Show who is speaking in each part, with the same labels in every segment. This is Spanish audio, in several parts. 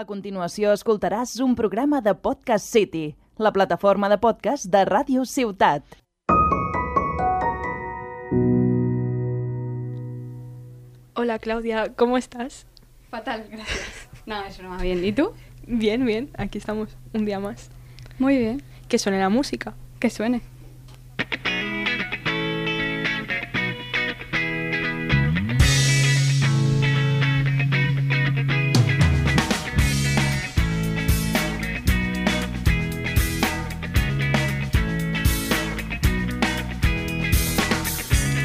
Speaker 1: A continuació escoltaràs un programa de Podcast City, la plataforma de podcast de Ràdio Ciutat.
Speaker 2: Hola Claudia, ¿cómo estás?
Speaker 3: Fatal, gracias. No, es broma, bien. ¿Y tú?
Speaker 2: Bien, bien, aquí estamos un día más.
Speaker 3: Muy bien.
Speaker 2: Que suene la música.
Speaker 3: Que suene.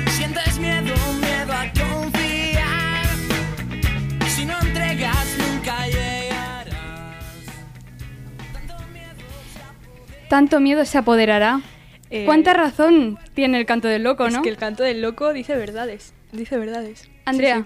Speaker 4: Sientes miedo, miedo a confiar. Si no entregas, nunca llegarás. Tanto miedo
Speaker 3: Tanto miedo se apoderará.
Speaker 2: Eh,
Speaker 3: ¿Cuánta razón tiene el canto del loco,
Speaker 2: Es
Speaker 3: no?
Speaker 2: que el canto del loco dice verdades. Dice verdades.
Speaker 3: Andrea,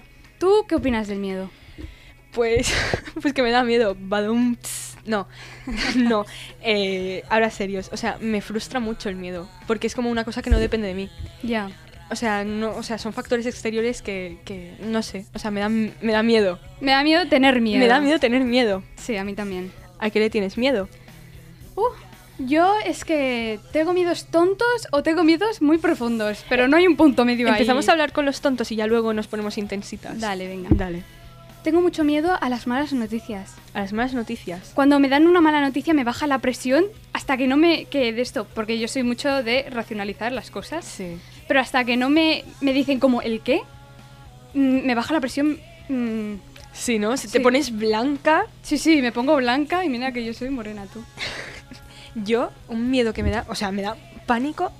Speaker 2: Sí,
Speaker 3: ¿tú qué opinas del miedo?
Speaker 2: sí. Pues, pues que me da miedo. Badum. ts. No, no. Eh, ahora serios. O sea, me frustra mucho el miedo. Porque es como una cosa que no depende de mí.
Speaker 3: Ya.
Speaker 2: O sea, no, o sea son factores exteriores que, que no sé. O sea, me da, me da miedo.
Speaker 3: Me da miedo tener miedo.
Speaker 2: Me da miedo tener miedo.
Speaker 3: Sí, a mí también.
Speaker 2: ¿A qué le tienes miedo?
Speaker 3: Uh, yo es que tengo miedos tontos o tengo miedos muy profundos, pero no hay un punto medio
Speaker 2: Empezamos a
Speaker 3: ahí.
Speaker 2: hablar con los tontos y ya luego nos ponemos intensitas.
Speaker 3: Dale, venga.
Speaker 2: Dale.
Speaker 3: Tengo mucho miedo a las malas noticias.
Speaker 2: A las malas noticias.
Speaker 3: Cuando me dan una mala noticia me baja la presión hasta que no me... que de esto, porque yo soy mucho de racionalizar las cosas.
Speaker 2: Sí.
Speaker 3: Pero hasta que no me, me dicen como el qué, mm, me baja la presión. mm,
Speaker 2: Sí, ¿no? Si
Speaker 3: Sí.
Speaker 2: te pones blanca,
Speaker 3: sí, sí, me pongo blanca y mira que yo soy morena tú.
Speaker 2: yo, un miedo que me da, o sea, me da pánico,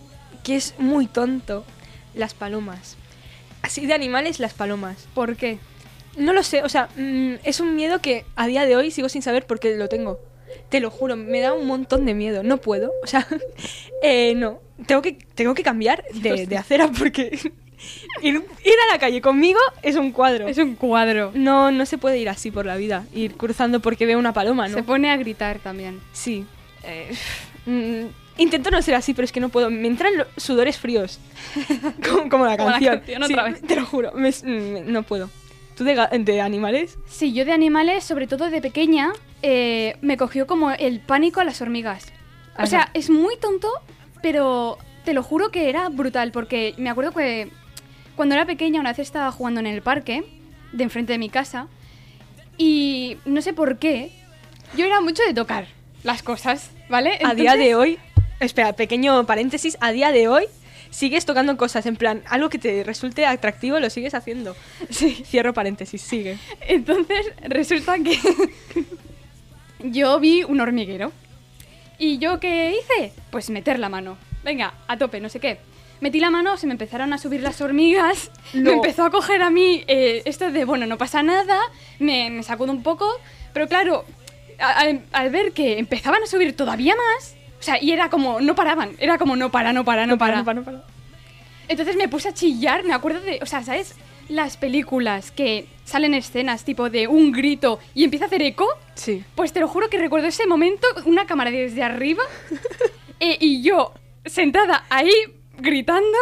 Speaker 2: que es muy tonto. Las palomas. Así de animales, las palomas.
Speaker 3: ¿Por qué?
Speaker 2: No lo sé, o sea, mm, es un miedo que a día de hoy sigo sin saber por qué lo tengo. Te lo juro, me da un montón de miedo. No puedo, o sea, eh, no. Tengo que, tengo que cambiar de, de acera porque ir, ir a la calle conmigo es un cuadro.
Speaker 3: Es un cuadro.
Speaker 2: No, no se puede ir así por la vida, ir cruzando porque veo una paloma, ¿no?
Speaker 3: Se pone a gritar también.
Speaker 2: Sí. Eh, mm, intento no ser así, pero es que no puedo. Me entran lo- sudores fríos. como, como la
Speaker 3: Como la
Speaker 2: canción.
Speaker 3: canción otra
Speaker 2: Sí,
Speaker 3: vez.
Speaker 2: Te lo juro. me- mm, no puedo. ¿Tú de, ga- de animales?
Speaker 3: Sí, yo de animales, sobre todo de pequeña, eh, me cogió como el pánico a las hormigas. O
Speaker 2: Ajá.
Speaker 3: sea, es muy tonto, pero te lo juro que era brutal, porque me acuerdo que cuando era pequeña una vez estaba jugando en el parque, de enfrente de mi casa, y no sé por qué, yo era mucho de tocar las cosas, ¿vale?
Speaker 2: A día
Speaker 3: Entonces-
Speaker 2: de hoy. Espera, pequeño paréntesis. A día de hoy sigues tocando cosas. En plan, algo que te resulte atractivo lo sigues haciendo.
Speaker 3: Sí.
Speaker 2: Cierro paréntesis, sigue.
Speaker 3: Entonces, resulta que yo vi un hormiguero. ¿Y yo qué hice? Pues meter la mano. Venga, a tope, no sé qué. Metí la mano, se me empezaron a subir las hormigas, me
Speaker 2: No.
Speaker 3: empezó a coger a mí eh, esto de, bueno, no pasa nada, me, me sacudo un poco, pero claro, a- al- al ver que empezaban a subir todavía más, o sea, y era como, no paraban, era como, no para, no para, no, para.
Speaker 2: No para, no para.
Speaker 3: Entonces me puse a chillar, me acuerdo de, o sea, ¿sabes? Las películas que salen escenas tipo de un grito y empieza a hacer eco,
Speaker 2: Sí.
Speaker 3: pues te lo juro que recuerdo ese momento, una cámara desde arriba eh, y yo sentada ahí gritando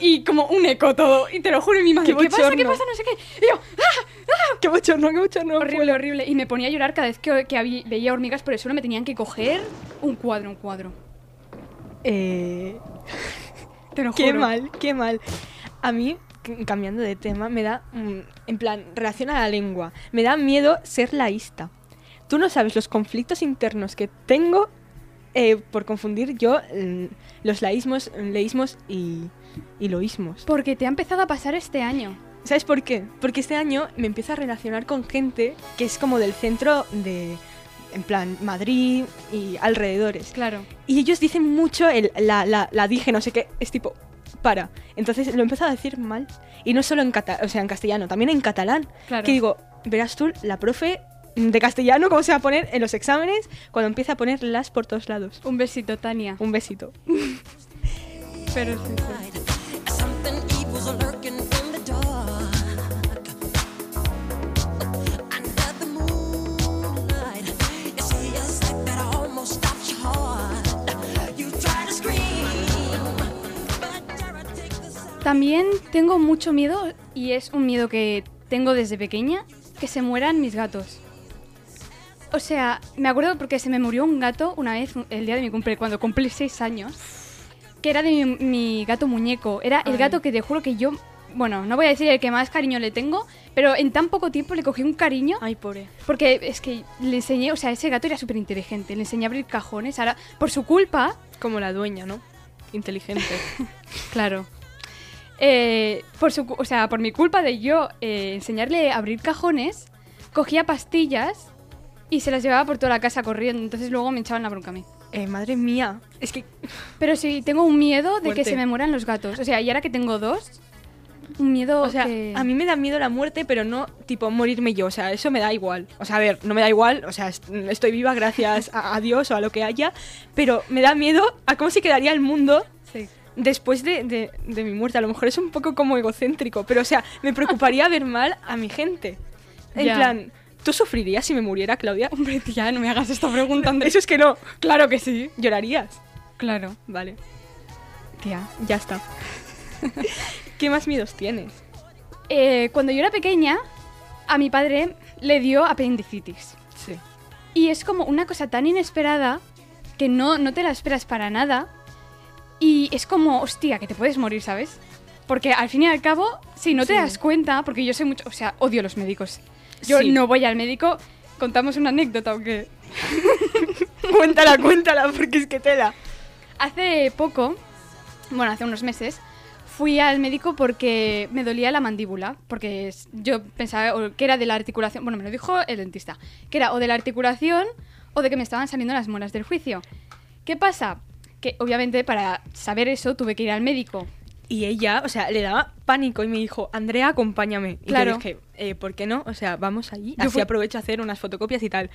Speaker 3: y como un eco todo. Y te lo juro, y mi madre,
Speaker 2: Qué
Speaker 3: ¿qué pasa? ¿Qué
Speaker 2: bochorno.
Speaker 3: pasa? No sé qué. Y yo, ¡ah!
Speaker 2: Qué bochorno, qué bochorno.
Speaker 3: Horrible, horrible. Y me ponía a llorar cada vez que, que había- veía hormigas por el suelo, me tenían que coger un cuadro, un cuadro.
Speaker 2: Eh,
Speaker 3: Te lo
Speaker 2: Qué
Speaker 3: juro.
Speaker 2: mal, qué mal. A mí, c- cambiando de tema, me da, mm, en plan, relación a la lengua, me da miedo ser laísta. Tú no sabes los conflictos internos que tengo eh, por confundir yo mm, los laísmos, leísmos y, y loísmos.
Speaker 3: Porque te ha empezado a pasar este año.
Speaker 2: ¿Sabes por qué? Porque este año me empiezo a relacionar con gente que es como del centro de, en plan, Madrid y alrededores.
Speaker 3: Claro.
Speaker 2: Y ellos dicen mucho el, la, la, la dije, no sé qué. Es tipo, para. Entonces lo he empezado a decir mal. Y no solo en, cata- o sea, en castellano, también en catalán.
Speaker 3: Claro.
Speaker 2: Que digo, verás tú, la profe de castellano, cómo se va a poner en los exámenes cuando empieza a poner las por todos lados.
Speaker 3: Un besito, Tania.
Speaker 2: Un besito.
Speaker 3: Pero sí, sí.
Speaker 4: sapo- Something evil's lurking in the dark. Under the moonlight, you see a sight that almost stops your heart. You try to scream, but terror takes the sound.
Speaker 3: También tengo mucho miedo, y es un miedo que tengo desde pequeña, que se mueran mis gatos. O sea, me acuerdo porque se me murió un gato una vez, un- el día de mi cumple, cuando cumplí seis años, que era de mi, mi gato muñeco. Era el
Speaker 2: Ay.
Speaker 3: gato que te juro que yo, bueno, no voy a decir el que más cariño le tengo, pero en tan poco tiempo le cogí un cariño
Speaker 2: Ay, pobre.
Speaker 3: porque es que le enseñé, o sea, ese gato era súper inteligente, le enseñé a abrir cajones. Ahora, por su culpa,
Speaker 2: Como la dueña, ¿no? Inteligente.
Speaker 3: Claro. Eh, por su, cu- o sea, por mi culpa de yo eh, enseñarle a abrir cajones, cogía pastillas y se las llevaba por toda la casa corriendo. Entonces luego me echaban la bronca a mí.
Speaker 2: Eh, madre mía. Es que
Speaker 3: Pero sí, tengo un miedo de
Speaker 2: Fuerte.
Speaker 3: que se me mueran los gatos. O sea, y ahora que tengo dos, un miedo
Speaker 2: O sea,
Speaker 3: que-
Speaker 2: a mí me da miedo la muerte, pero no tipo morirme yo. O sea, eso me da igual. O sea, a ver, no me da igual. O sea, est- estoy viva gracias a, a Dios o a lo que haya. Pero me da miedo a cómo se quedaría el mundo
Speaker 3: Sí.
Speaker 2: después de, de- de mi muerte. A lo mejor es un poco como egocéntrico, pero o sea, me preocuparía ver mal a mi gente. En
Speaker 3: Ya.
Speaker 2: plan, ¿tú sufrirías si me muriera, Claudia?
Speaker 3: Hombre, tía, no me hagas esta pregunta, Andrés.
Speaker 2: Eso es que no. Claro que sí. ¿Llorarías?
Speaker 3: Claro.
Speaker 2: Vale,
Speaker 3: Tía.
Speaker 2: ya está. ¿Qué más miedos tienes?
Speaker 3: Eh, cuando yo era pequeña, a mi padre le dio apendicitis.
Speaker 2: Sí.
Speaker 3: Y es como una cosa tan inesperada que no, no te la esperas para nada. Y es como, hostia, que te puedes morir, ¿sabes? Porque al fin y al cabo, si no te
Speaker 2: Sí.
Speaker 3: das cuenta, porque yo soy mucho, o sea, odio los médicos. Yo
Speaker 2: Sí.
Speaker 3: no voy al médico, contamos una anécdota o qué?
Speaker 2: Cuéntala, cuéntala, porque es que tela.
Speaker 3: Hace poco, bueno, hace unos meses, fui al médico porque me dolía la mandíbula, porque es- yo pensaba o que era de la articulación, bueno, me lo dijo el dentista, que era o de la articulación o de que me estaban saliendo las muelas del juicio. ¿Qué pasa? Que obviamente para saber eso tuve que ir al médico.
Speaker 2: Y ella, o sea, le daba pánico y me dijo, Andrea, acompáñame. Y
Speaker 3: Claro.
Speaker 2: yo dije, "Eh, ¿por qué no? O sea, vamos allí.
Speaker 3: Yo
Speaker 2: Así
Speaker 3: fui-
Speaker 2: aprovecho a hacer unas fotocopias y tal.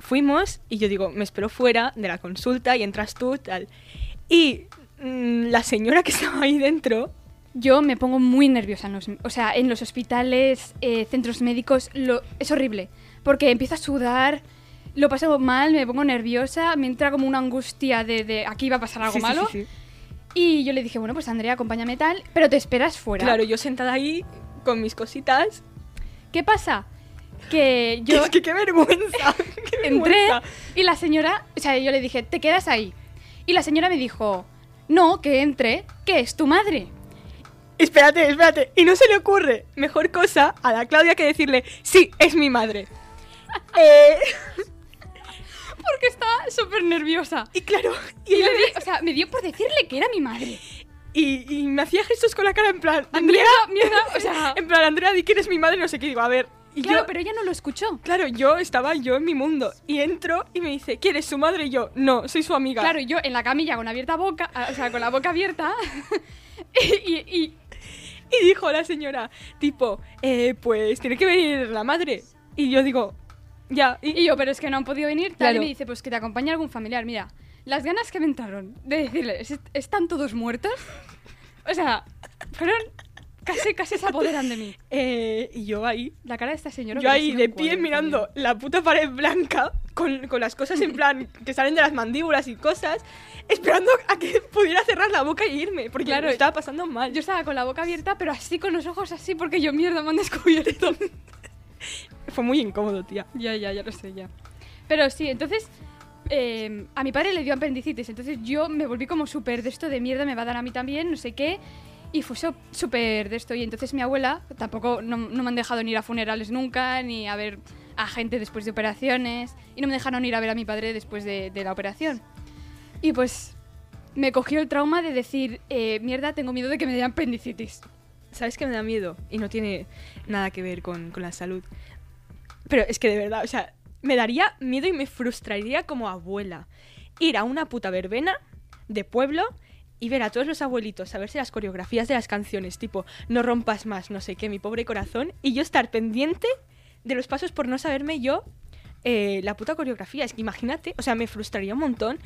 Speaker 2: Fuimos y yo digo, me espero fuera de la consulta y entras tú, tal. Y mm, la señora que estaba ahí dentro,
Speaker 3: Yo me pongo muy nerviosa en los, o sea, en los hospitales, eh, centros médicos, lo- es horrible, porque empiezo a sudar, lo paso mal, me pongo nerviosa, me entra como una angustia de, de aquí va a pasar algo
Speaker 2: Sí, sí,
Speaker 3: malo.
Speaker 2: sí, sí.
Speaker 3: Y yo le dije, bueno, pues Andrea, acompáñame tal, pero te esperas fuera.
Speaker 2: Claro, yo sentada ahí con mis cositas.
Speaker 3: ¿Qué pasa? Que yo
Speaker 2: es que qué vergüenza. qué
Speaker 3: entré
Speaker 2: vergüenza.
Speaker 3: y la señora, o sea, yo le dije, te quedas ahí. Y la señora me dijo, no, que entre, que es tu madre.
Speaker 2: Espérate, espérate. Y no se le ocurre mejor cosa a la Claudia que decirle, sí, es mi madre. Eh,
Speaker 3: Porque estaba súper nerviosa.
Speaker 2: y claro, y,
Speaker 3: Y
Speaker 2: ella
Speaker 3: le di- o sea, me dio por decirle que era mi madre.
Speaker 2: Y, y me hacía gestos con la cara en plan, Andrea,
Speaker 3: mierda, o sea-
Speaker 2: en plan, Andrea, di que eres mi madre, no sé qué, digo, a ver. Y
Speaker 3: Claro,
Speaker 2: yo,
Speaker 3: pero ella no lo escuchó.
Speaker 2: claro, yo estaba yo en mi mundo y entro y me dice, ¿quién es su madre? Y yo, no, soy su amiga.
Speaker 3: Claro, yo en la camilla con abierta boca, ah, o sea, con la boca abierta. y, y- y-
Speaker 2: Y dijo la señora, tipo, "Eh, pues tiene que venir la madre. Y yo digo, ya. Y,
Speaker 3: y yo, pero es que no han podido venir. Tal,
Speaker 2: Claro.
Speaker 3: Y me dice, pues que te acompañe algún familiar. Mira, las ganas que me entraron de decirle, "¿Es- ¿están todos muertos? O sea, fueron. Casi, casi se apoderan de mí.
Speaker 2: eh, y yo ahí,
Speaker 3: La cara de esta señora.
Speaker 2: yo
Speaker 3: hubiera
Speaker 2: ahí
Speaker 3: sido
Speaker 2: de
Speaker 3: un
Speaker 2: pie
Speaker 3: cuadro
Speaker 2: mirando
Speaker 3: también.
Speaker 2: la puta pared blanca con, con las cosas en plan que salen de las mandíbulas y cosas, esperando a que pudiera cerrar la boca y irme, porque
Speaker 3: Claro.
Speaker 2: lo estaba pasando mal.
Speaker 3: Yo estaba con la boca abierta, pero así con los ojos así, porque yo mierda me han descubierto.
Speaker 2: Fue muy incómodo, tía.
Speaker 3: Ya, ya, ya lo sé, ya. Pero sí, entonces eh, a mi padre le dio apendicitis, entonces yo me volví como súper de esto de mierda, me va a dar a mí también, no sé qué. Y fue so- súper de esto. Y entonces mi abuela, tampoco no, no me han dejado ni ir a funerales nunca, ni a ver a gente después de operaciones, y no me dejaron ir a ver a mi padre después de, de la operación. Y pues me cogió el trauma de decir, eh, mierda, tengo miedo de que me dé apendicitis.
Speaker 2: ¿Sabes que me da miedo? Y no tiene nada que ver con, con la salud. Pero es que de verdad, o sea, me daría miedo y me frustraría como abuela ir a una puta verbena de pueblo y ver a todos los abuelitos saberse las coreografías de las canciones, tipo, no rompas más, no sé qué, mi pobre corazón, y yo estar pendiente de los pasos por no saberme yo eh, la puta coreografía. Es que imagínate, o sea, me frustraría un montón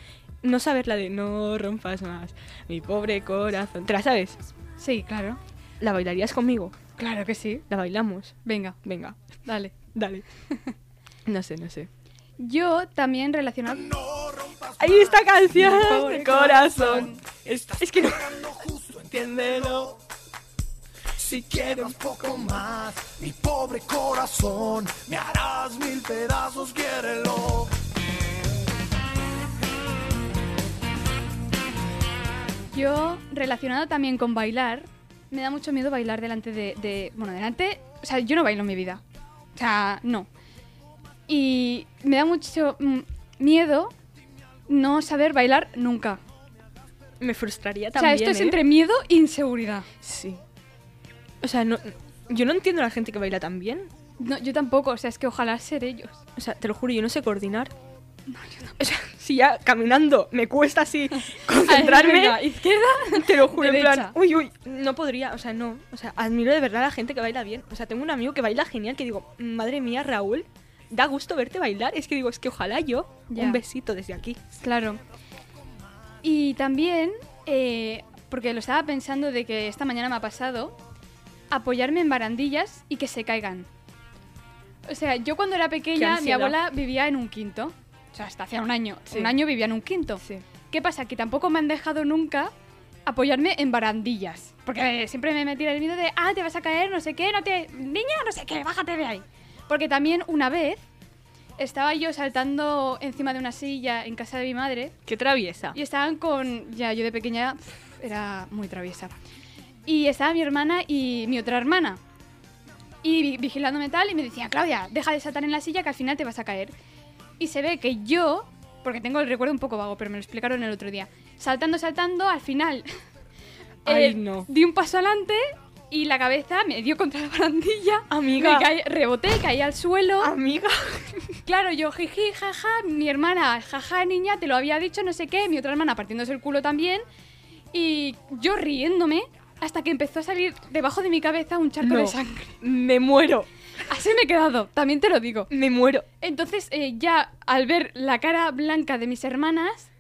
Speaker 2: no saber la de no rompas más, mi pobre corazón. ¿Te la sabes?
Speaker 3: Sí, claro.
Speaker 2: ¿La bailarías conmigo?
Speaker 3: Claro que sí.
Speaker 2: La bailamos.
Speaker 3: Venga,
Speaker 2: Venga,
Speaker 3: dale.
Speaker 2: dale. No sé, no sé.
Speaker 3: Yo también relacionado
Speaker 2: Ahí esta canción
Speaker 3: Pobre
Speaker 2: de corazón. Es, es que no.
Speaker 5: entiéndelo. Si quiere un poco más, mi pobre corazón, me harás mil pedazos, quiérelo.
Speaker 3: Yo, relacionado también con bailar, me da mucho miedo bailar delante de, de- Bueno, delante... O sea, yo no bailo en mi vida. O sea, no. Y me da mucho mm, miedo no saber bailar nunca.
Speaker 2: Me frustraría
Speaker 3: o sea,
Speaker 2: también.
Speaker 3: esto es
Speaker 2: ¿eh?
Speaker 3: entre miedo e inseguridad.
Speaker 2: Sí. O sea, no, yo no entiendo a la gente que baila tan bien.
Speaker 3: No, yo tampoco, o sea, es que ojalá ser ellos.
Speaker 2: O sea, te lo juro, yo no sé coordinar. O sea, si ya caminando me cuesta así
Speaker 3: Venga,
Speaker 2: concentrarme,
Speaker 3: izquierda.
Speaker 2: te lo juro, en plan,
Speaker 3: derecha.
Speaker 2: uy, uy, no podría, o sea, no. O sea, admiro de verdad a la gente que baila bien. O sea, tengo un amigo que baila genial que digo, madre mía, Raúl, da gusto verte bailar. Es que digo, es que ojalá yo,
Speaker 3: Ya.
Speaker 2: un besito desde aquí.
Speaker 3: Claro. Y también, eh, porque lo estaba pensando de que esta mañana me ha pasado, apoyarme en barandillas y que se caigan. O sea, yo cuando era pequeña, mi
Speaker 2: ansiedad.
Speaker 3: abuela vivía en un quinto. O sea, hasta hacía un año.
Speaker 2: Sí.
Speaker 3: Un año vivía en un quinto. ¿Qué pasa? Que tampoco me han dejado nunca apoyarme en barandillas. Porque eh, siempre me metía el miedo de, ah, te vas a caer, no sé qué, no te... Niña, no sé qué, bájate de ahí. Porque también una vez estaba yo saltando encima de una silla en casa de mi madre
Speaker 2: Qué traviesa.
Speaker 3: y estaban con... Ya, yo de pequeña pf, era muy traviesa. Y estaba mi hermana y mi otra hermana. Y vi- vigilándome tal y me decía, Claudia, deja de saltar en la silla que al final te vas a caer. Y se ve que yo, porque tengo el recuerdo un poco vago, pero me lo explicaron el otro día, saltando, saltando, al final eh,
Speaker 2: Ay, no.
Speaker 3: di un paso adelante y la cabeza me dio contra la barandilla.
Speaker 2: Amiga. Ah,
Speaker 3: Me caí- reboté, caí al suelo.
Speaker 2: Amiga.
Speaker 3: Claro, yo jiji, jaja, mi hermana, jaja, niña, te lo había dicho, no sé qué, mi otra hermana partiéndose el culo también, y yo riéndome hasta que empezó a salir debajo de mi cabeza un charco
Speaker 2: No.
Speaker 3: de sangre.
Speaker 2: Me muero.
Speaker 3: Así me he quedado, también te lo digo.
Speaker 2: Me muero.
Speaker 3: Entonces, eh, ya al ver la cara blanca de mis hermanas,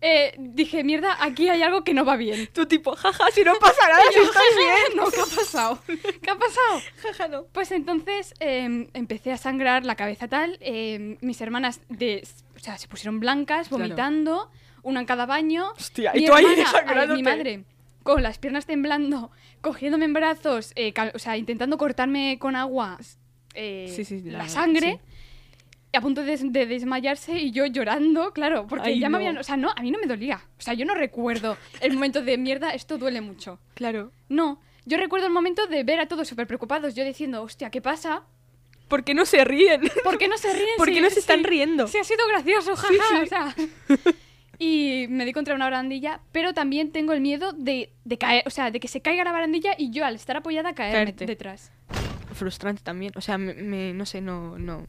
Speaker 3: eh, dije, mierda, aquí hay algo que no va bien.
Speaker 2: Tu tipo, jaja, si no pasa nada, si estás bien.
Speaker 3: No, ¿qué ha pasado? ¿Qué ha pasado?
Speaker 2: Jaja, no.
Speaker 3: Pues entonces em, empecé a sangrar la cabeza tal. em, mis hermanas de, o sea, se pusieron blancas,
Speaker 2: Claro.
Speaker 3: vomitando, una en cada baño.
Speaker 2: Hostia, y
Speaker 3: Mi
Speaker 2: tú ahí
Speaker 3: hermana,
Speaker 2: desangrándote.
Speaker 3: Mi madre, con las piernas temblando, cogiéndome en brazos, eh, cal- o sea, intentando cortarme con agua eh,
Speaker 2: Sí, sí, la-
Speaker 3: la, sangre. y A punto de, des- de desmayarse y yo llorando, claro, porque
Speaker 2: Ay,
Speaker 3: ya
Speaker 2: no.
Speaker 3: me habían. O sea, no, a mí no me dolía. O sea, yo no recuerdo el momento de mierda, esto duele mucho.
Speaker 2: Claro.
Speaker 3: No, yo recuerdo el momento de ver a todos súper preocupados, yo diciendo, hostia, ¿qué pasa?
Speaker 2: ¿Por qué no se ríen?
Speaker 3: ¿Por qué no se ríen?
Speaker 2: ¿Por qué
Speaker 3: Si-
Speaker 2: no se están
Speaker 3: si-
Speaker 2: riendo?
Speaker 3: Si ha sido gracioso, jaja,
Speaker 2: Sí, sí.
Speaker 3: o sea. Y me di contra una barandilla, pero también tengo el miedo de, de caer, o sea, de que se caiga la barandilla y yo al estar apoyada caer
Speaker 2: Caerte.
Speaker 3: detrás.
Speaker 2: Frustrante también. O sea, me, me- no sé, no, no.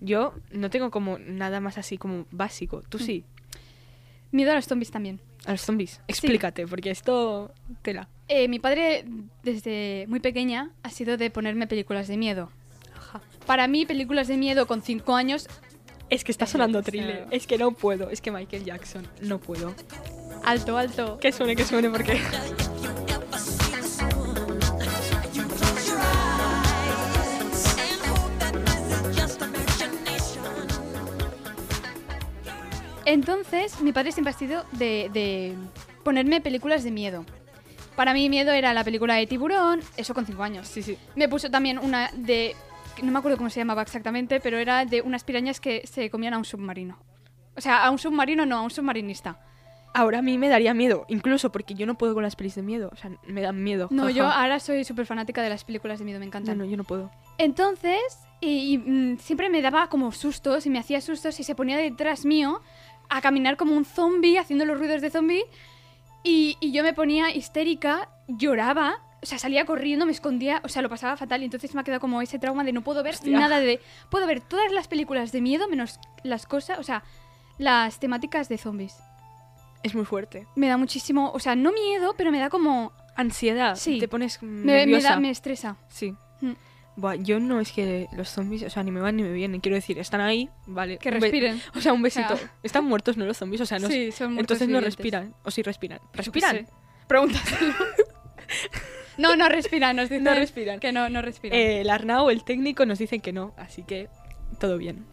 Speaker 2: Yo no tengo como nada más así como básico. Tú sí,
Speaker 3: Miedo a los zombies también.
Speaker 2: a los zombies. Explícate, porque esto tela.
Speaker 3: Eh, mi padre, desde muy pequeña, ha sido de ponerme películas de miedo. Para mí, películas de miedo con 5 años,
Speaker 2: Es que está sonando
Speaker 3: o sea-
Speaker 2: thriller. Es que no puedo. Es que Michael Jackson, no puedo.
Speaker 3: alto, alto.
Speaker 2: Que suene, que suene, porque.
Speaker 3: Entonces, mi padre siempre ha sido de, de ponerme películas de miedo. Para mí, miedo era la película de Tiburón, eso con 5 años.
Speaker 2: Sí, sí.
Speaker 3: Me puso también una de. No me acuerdo cómo se llamaba exactamente, pero era de unas pirañas que se comían a un submarino. O sea, a un submarino no, a un submarinista.
Speaker 2: Ahora a mí me daría miedo, incluso porque yo no puedo con las pelis de miedo. O sea, me dan miedo.
Speaker 3: No,
Speaker 2: jaja.
Speaker 3: yo ahora soy súper fanática de las películas de miedo, me
Speaker 2: No,
Speaker 3: encantan.
Speaker 2: no, yo no puedo.
Speaker 3: Entonces, y, y, mm, siempre me daba como sustos y me hacía sustos y se ponía detrás mío a caminar como un zombie, haciendo los ruidos de zombie. Y, y yo me ponía histérica, lloraba, o sea, salía corriendo, me escondía, o sea, lo pasaba fatal. Y entonces me ha quedado como ese trauma de no puedo ver
Speaker 2: Hostia.
Speaker 3: nada de. Puedo ver todas las películas de miedo menos las cosas, o sea, las temáticas de zombies.
Speaker 2: Es muy fuerte.
Speaker 3: Me da muchísimo, o sea, no miedo, pero me da como.
Speaker 2: Ansiedad.
Speaker 3: Sí.
Speaker 2: Te pones
Speaker 3: Me, me,
Speaker 2: nerviosa.
Speaker 3: da, me estresa.
Speaker 2: Sí.
Speaker 3: Mm.
Speaker 2: Buah, yo no es que los zombies, o sea, ni me van ni me vienen. Quiero decir, están ahí, vale.
Speaker 3: Que
Speaker 2: un be-
Speaker 3: respiren.
Speaker 2: O sea, un besito.
Speaker 3: O sea.
Speaker 2: Están muertos, no los zombies, o sea, no.
Speaker 3: Sí, son muertos
Speaker 2: entonces no
Speaker 3: vivientes.
Speaker 2: respiran, o sí respiran.
Speaker 3: qué
Speaker 2: ¿Respiran?
Speaker 3: sé. Pregúntaselo. no, no respiran, nos dicen
Speaker 2: No respiran.
Speaker 3: Que no, no respiran.
Speaker 2: Eh, el Arnau, el técnico, nos dicen que no, así que todo bien.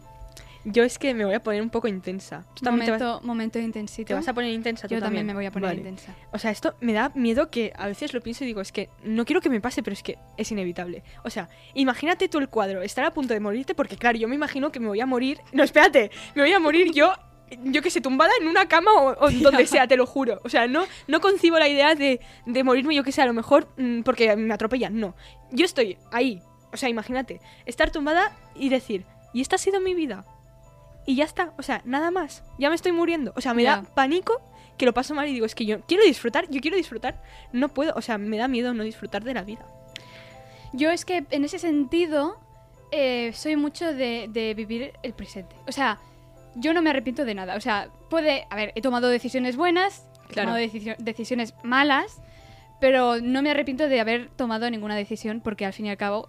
Speaker 2: Yo es que me voy a poner un poco intensa. Tú también te vas-
Speaker 3: Momento, momento intensito.
Speaker 2: te vas a poner intensa. tú
Speaker 3: Yo también me voy a poner
Speaker 2: Vale.
Speaker 3: intensa.
Speaker 2: O sea, esto me da miedo que a veces lo pienso y digo, es que no quiero que me pase, pero es que es inevitable. O sea, imagínate tú el cuadro, estar a punto de morirte, porque claro, yo me imagino que me voy a morir. No, espérate, me voy a morir yo, yo que sé, tumbada en una cama o, o donde sea, te lo juro. O sea, no, no concibo la idea de, de morirme, yo que sé, a lo mejor mm, porque me atropellan. No, yo estoy ahí. O sea, imagínate, estar tumbada y decir, y esta ha sido mi vida. Y ya está, o sea, nada más. Ya me estoy muriendo. O sea, me da
Speaker 3: Ya.
Speaker 2: pánico que lo paso mal y digo, es que yo quiero disfrutar, yo quiero disfrutar, no puedo, o sea, me da miedo no disfrutar de la vida.
Speaker 3: Yo es que en ese sentido eh, soy mucho de, de vivir el presente. O sea, yo no me arrepiento de nada. O sea, puede. A ver, he tomado decisiones buenas, he
Speaker 2: Claro.
Speaker 3: tomado decisio- decisiones malas, pero no me arrepiento de haber tomado ninguna decisión porque al fin y al cabo,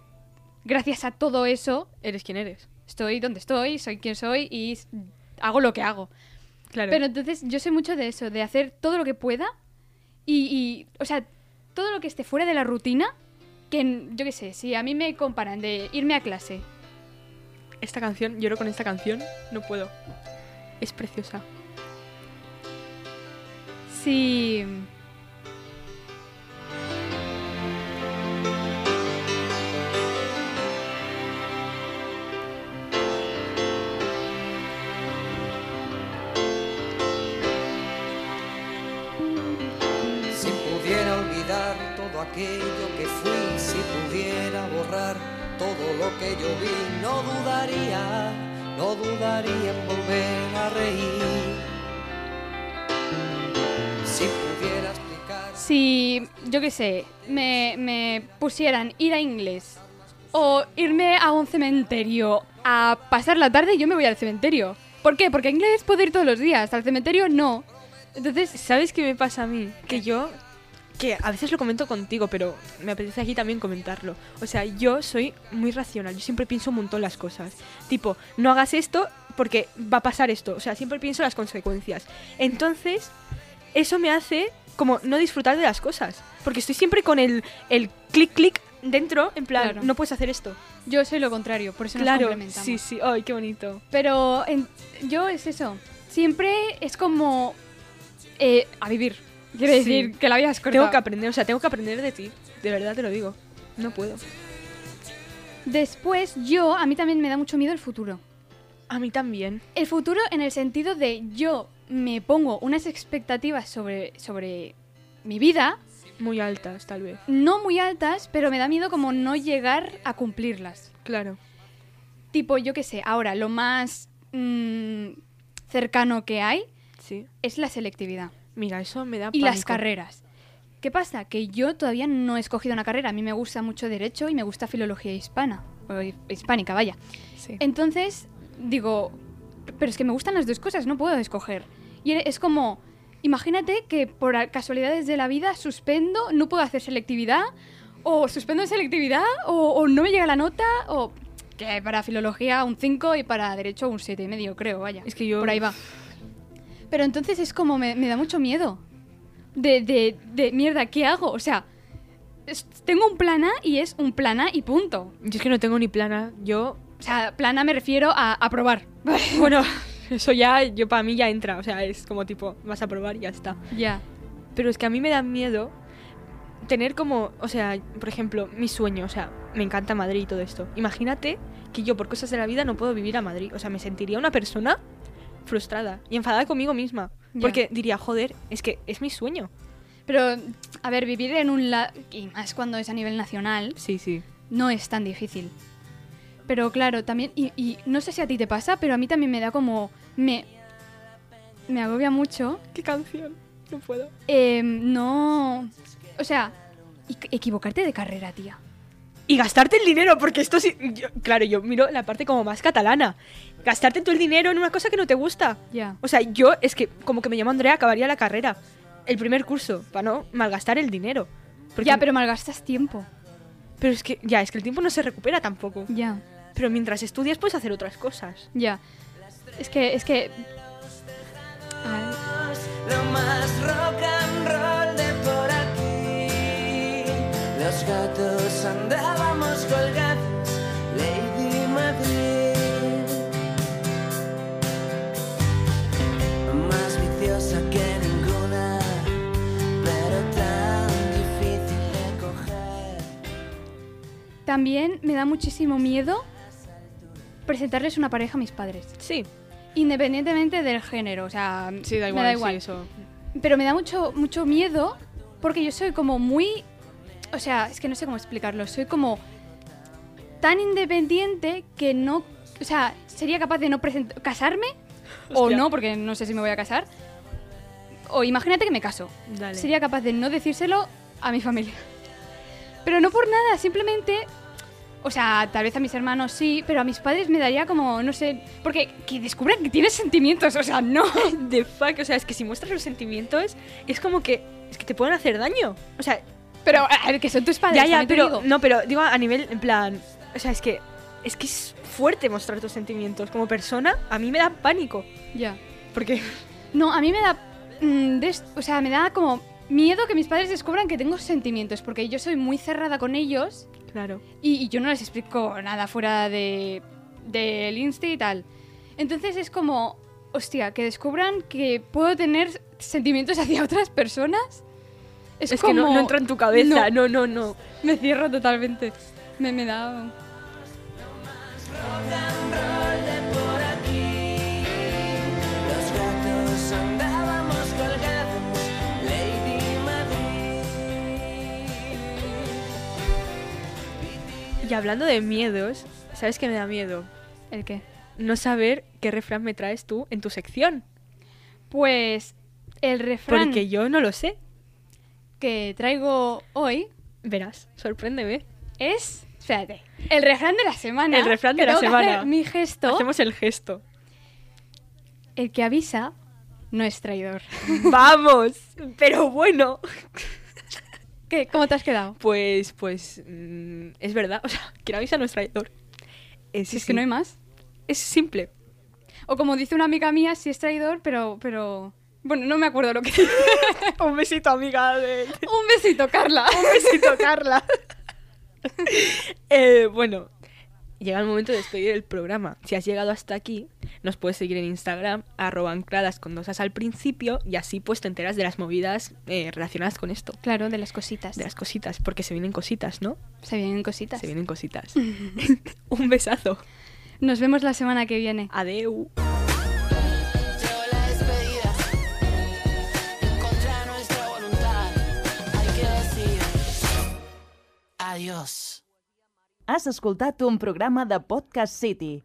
Speaker 3: gracias a todo eso,
Speaker 2: Eres quien eres.
Speaker 3: estoy donde estoy, soy quien soy y s- hago lo que hago.
Speaker 2: Claro.
Speaker 3: Pero entonces yo soy mucho de eso, de hacer todo lo que pueda y, y, o sea, todo lo que esté fuera de la rutina, que en- yo qué sé, si a mí me comparan de irme a clase,
Speaker 2: esta canción, lloro con esta canción, no puedo. Es preciosa.
Speaker 3: si...
Speaker 6: Si pudiera olvidar todo aquello que fui, si pudiera borrar todo lo que yo vi, no dudaría, no dudaría en volver a reír. Si pudiera explicar.
Speaker 3: si, yo qué sé, me, me pusieran ir a inglés o irme a un cementerio a pasar la tarde, yo me voy al cementerio. ¿Por qué? Porque a inglés puedo ir todos los días, al cementerio no. Entonces,
Speaker 2: ¿Sabes qué me pasa a mí? Que yo, que a veces lo comento contigo, pero me apetece aquí también comentarlo. O sea, yo soy muy racional, yo siempre pienso un montón las cosas. Tipo, no hagas esto porque va a pasar esto. O sea, siempre pienso las consecuencias. Entonces, eso me hace como no disfrutar de las cosas. Porque estoy siempre con el, el clic, clic dentro, en plan,
Speaker 3: Claro.
Speaker 2: no puedes hacer esto.
Speaker 3: yo soy lo contrario, por eso nos
Speaker 2: claro,
Speaker 3: complementamos.
Speaker 2: sí, sí, ay, qué bonito.
Speaker 3: Pero en- yo es eso. Siempre es como eh, a vivir. Quiere
Speaker 2: Sí.
Speaker 3: decir que la vida es corta.
Speaker 2: Tengo que aprender, o sea, tengo que aprender de ti. De verdad te lo digo. No puedo.
Speaker 3: Después yo, a mí también me da mucho miedo el futuro.
Speaker 2: A mí también.
Speaker 3: El futuro en el sentido de yo me pongo unas expectativas sobre, sobre mi vida,
Speaker 2: Muy altas, tal vez.
Speaker 3: no muy altas, pero me da miedo como no llegar a cumplirlas.
Speaker 2: Claro.
Speaker 3: Tipo, yo qué sé, ahora lo más mm, cercano que hay
Speaker 2: Sí.
Speaker 3: es la selectividad.
Speaker 2: Mira, eso me da
Speaker 3: y las
Speaker 2: pánico.
Speaker 3: carreras. ¿Qué pasa? Que yo todavía no he escogido una carrera. A mí me gusta mucho Derecho y me gusta Filología Hispana. O hi- hispánica, vaya.
Speaker 2: Sí.
Speaker 3: Entonces, digo, pero es que me gustan las dos cosas, no puedo escoger. Y e- es como, imagínate que por a- casualidades de la vida suspendo, no puedo hacer selectividad, o suspendo en selectividad, o, o no me llega la nota, o que para filología un 5 y para derecho un 7 y medio, creo, vaya.
Speaker 2: Es que yo-
Speaker 3: Por ahí va. Pero entonces es como, me, me da mucho miedo. De, de, de, mierda, ¿qué hago? O sea, es- tengo un plan A y es un plan A y punto.
Speaker 2: Yo es que no tengo ni plana. Yo.
Speaker 3: O sea, plan A me refiero a aprobar.
Speaker 2: Bueno, eso ya, yo para mí ya entra. O sea, es como tipo, vas a probar y ya está.
Speaker 3: Ya.
Speaker 2: Pero es que a mí me da miedo tener como, o sea, por ejemplo, mi sueño, o sea, me encanta Madrid y todo esto. Imagínate que yo por cosas de la vida no puedo vivir a Madrid, o sea, me sentiría una persona frustrada y enfadada conmigo misma,
Speaker 3: Ya.
Speaker 2: porque diría, joder, es que es mi sueño.
Speaker 3: Pero, a ver, vivir en un lado, y más cuando es a nivel nacional,
Speaker 2: Sí, sí.
Speaker 3: no es tan difícil. Pero claro, también, y, y no sé si a ti te pasa, pero a mí también me da como, me, me agobia mucho.
Speaker 2: ¿Qué canción? No puedo.
Speaker 3: em, no, o sea, y- equivocarte de carrera, tía.
Speaker 2: Y gastarte el dinero, porque esto sí, yo- claro, yo miro la parte como más catalana. Gastarte tú el dinero en una cosa que no te gusta.
Speaker 3: Ya.
Speaker 2: O sea, yo es que como que me llamo Andrea, acabaría la carrera, el primer curso, para no malgastar el dinero. Porque-
Speaker 3: Ya, pero malgastas tiempo.
Speaker 2: Pero es que ya, es que el tiempo no se recupera tampoco.
Speaker 3: Ya,
Speaker 2: Pero mientras estudias puedes hacer otras cosas.
Speaker 3: ya. Es que, es que... Ay.
Speaker 6: Lo más rock and roll de por aquí. Los gatos andábamos colgados, Lady Madrid.
Speaker 3: También me da muchísimo miedo presentarles una pareja a mis padres,
Speaker 2: Sí,
Speaker 3: independientemente del género, o sea,
Speaker 2: sí, da igual.
Speaker 3: me da igual.
Speaker 2: Sí, eso.
Speaker 3: Pero me da mucho, mucho miedo porque yo soy como muy... O sea, es que no sé cómo explicarlo. Soy como tan independiente que no... O sea, sería capaz de no present- casarme o
Speaker 2: Hostia.
Speaker 3: no, porque no sé si me voy a casar. O imagínate que me caso.
Speaker 2: Dale.
Speaker 3: Sería capaz de no decírselo a mi familia. Pero no por nada, simplemente... O sea, tal vez a mis hermanos sí, pero a mis padres me daría como, no sé, porque que descubran que tienes sentimientos, o sea, no.
Speaker 2: The fuck, o sea, es que si muestras los sentimientos, es como que. Es que te pueden hacer daño. O sea,
Speaker 3: Pero a ver, que son tus padres.
Speaker 2: ya, ya,
Speaker 3: también te
Speaker 2: pero.
Speaker 3: digo.
Speaker 2: No, pero digo a nivel, en plan. O sea, es que. Es que es fuerte mostrar tus sentimientos. Como persona, a mí me da pánico.
Speaker 3: Ya.
Speaker 2: Porque.
Speaker 3: No, a mí me da. mm, des- o sea, me da como miedo que mis padres descubran que tengo sentimientos, porque yo soy muy cerrada con ellos
Speaker 2: Claro.
Speaker 3: y, y yo no les explico nada fuera de del Insta y tal. Entonces es como, hostia, que descubran que puedo tener sentimientos hacia otras personas. Es,
Speaker 2: Es, que no,
Speaker 3: como-
Speaker 2: no entra en tu cabeza. No, no, no.
Speaker 3: Me cierro totalmente. Me, me da.
Speaker 4: Los gatos andábamos colgados, Lady Madrid.
Speaker 2: Y hablando de miedos, ¿sabes qué me da miedo?
Speaker 3: ¿El qué?
Speaker 2: No saber qué refrán me traes tú en tu sección.
Speaker 3: Pues el refrán
Speaker 2: Porque yo no lo sé.
Speaker 3: que traigo hoy
Speaker 2: Verás, sorpréndeme.
Speaker 3: es. Espérate. El refrán de la semana.
Speaker 2: El refrán de
Speaker 3: que
Speaker 2: la
Speaker 3: tengo que
Speaker 2: semana.
Speaker 3: hacer mi gesto.
Speaker 2: Hacemos el gesto.
Speaker 3: El que avisa no es traidor.
Speaker 2: ¡Vamos! Pero bueno.
Speaker 3: ¿Qué? ¿Cómo te has quedado?
Speaker 2: Pues, pues, mm, es verdad. O sea, quien avisa no es traidor. Es,
Speaker 3: Si es que no hay más.
Speaker 2: es simple.
Speaker 3: O como dice una amiga mía, sí es traidor, pero. pero... Bueno, no me acuerdo lo que dice.
Speaker 2: Un besito, amiga. De...
Speaker 3: Un besito, Carla.
Speaker 2: Un besito, Carla. Eh, bueno, llega el momento de despedir el programa. Si has llegado hasta aquí, nos puedes seguir en Instagram, arroba ancladas con dos as al principio, y así pues te enteras de las movidas eh, relacionadas con esto.
Speaker 3: Claro, de las cositas.
Speaker 2: De las cositas, porque se vienen cositas, ¿no?
Speaker 3: Se vienen cositas.
Speaker 2: Se vienen cositas. Un besazo.
Speaker 3: Nos vemos la semana que viene.
Speaker 2: Adeu.
Speaker 4: Llegó la despedida, en contra de nuestra voluntad, hay que decir adiós.
Speaker 1: Has escoltat un programa de Podcast City,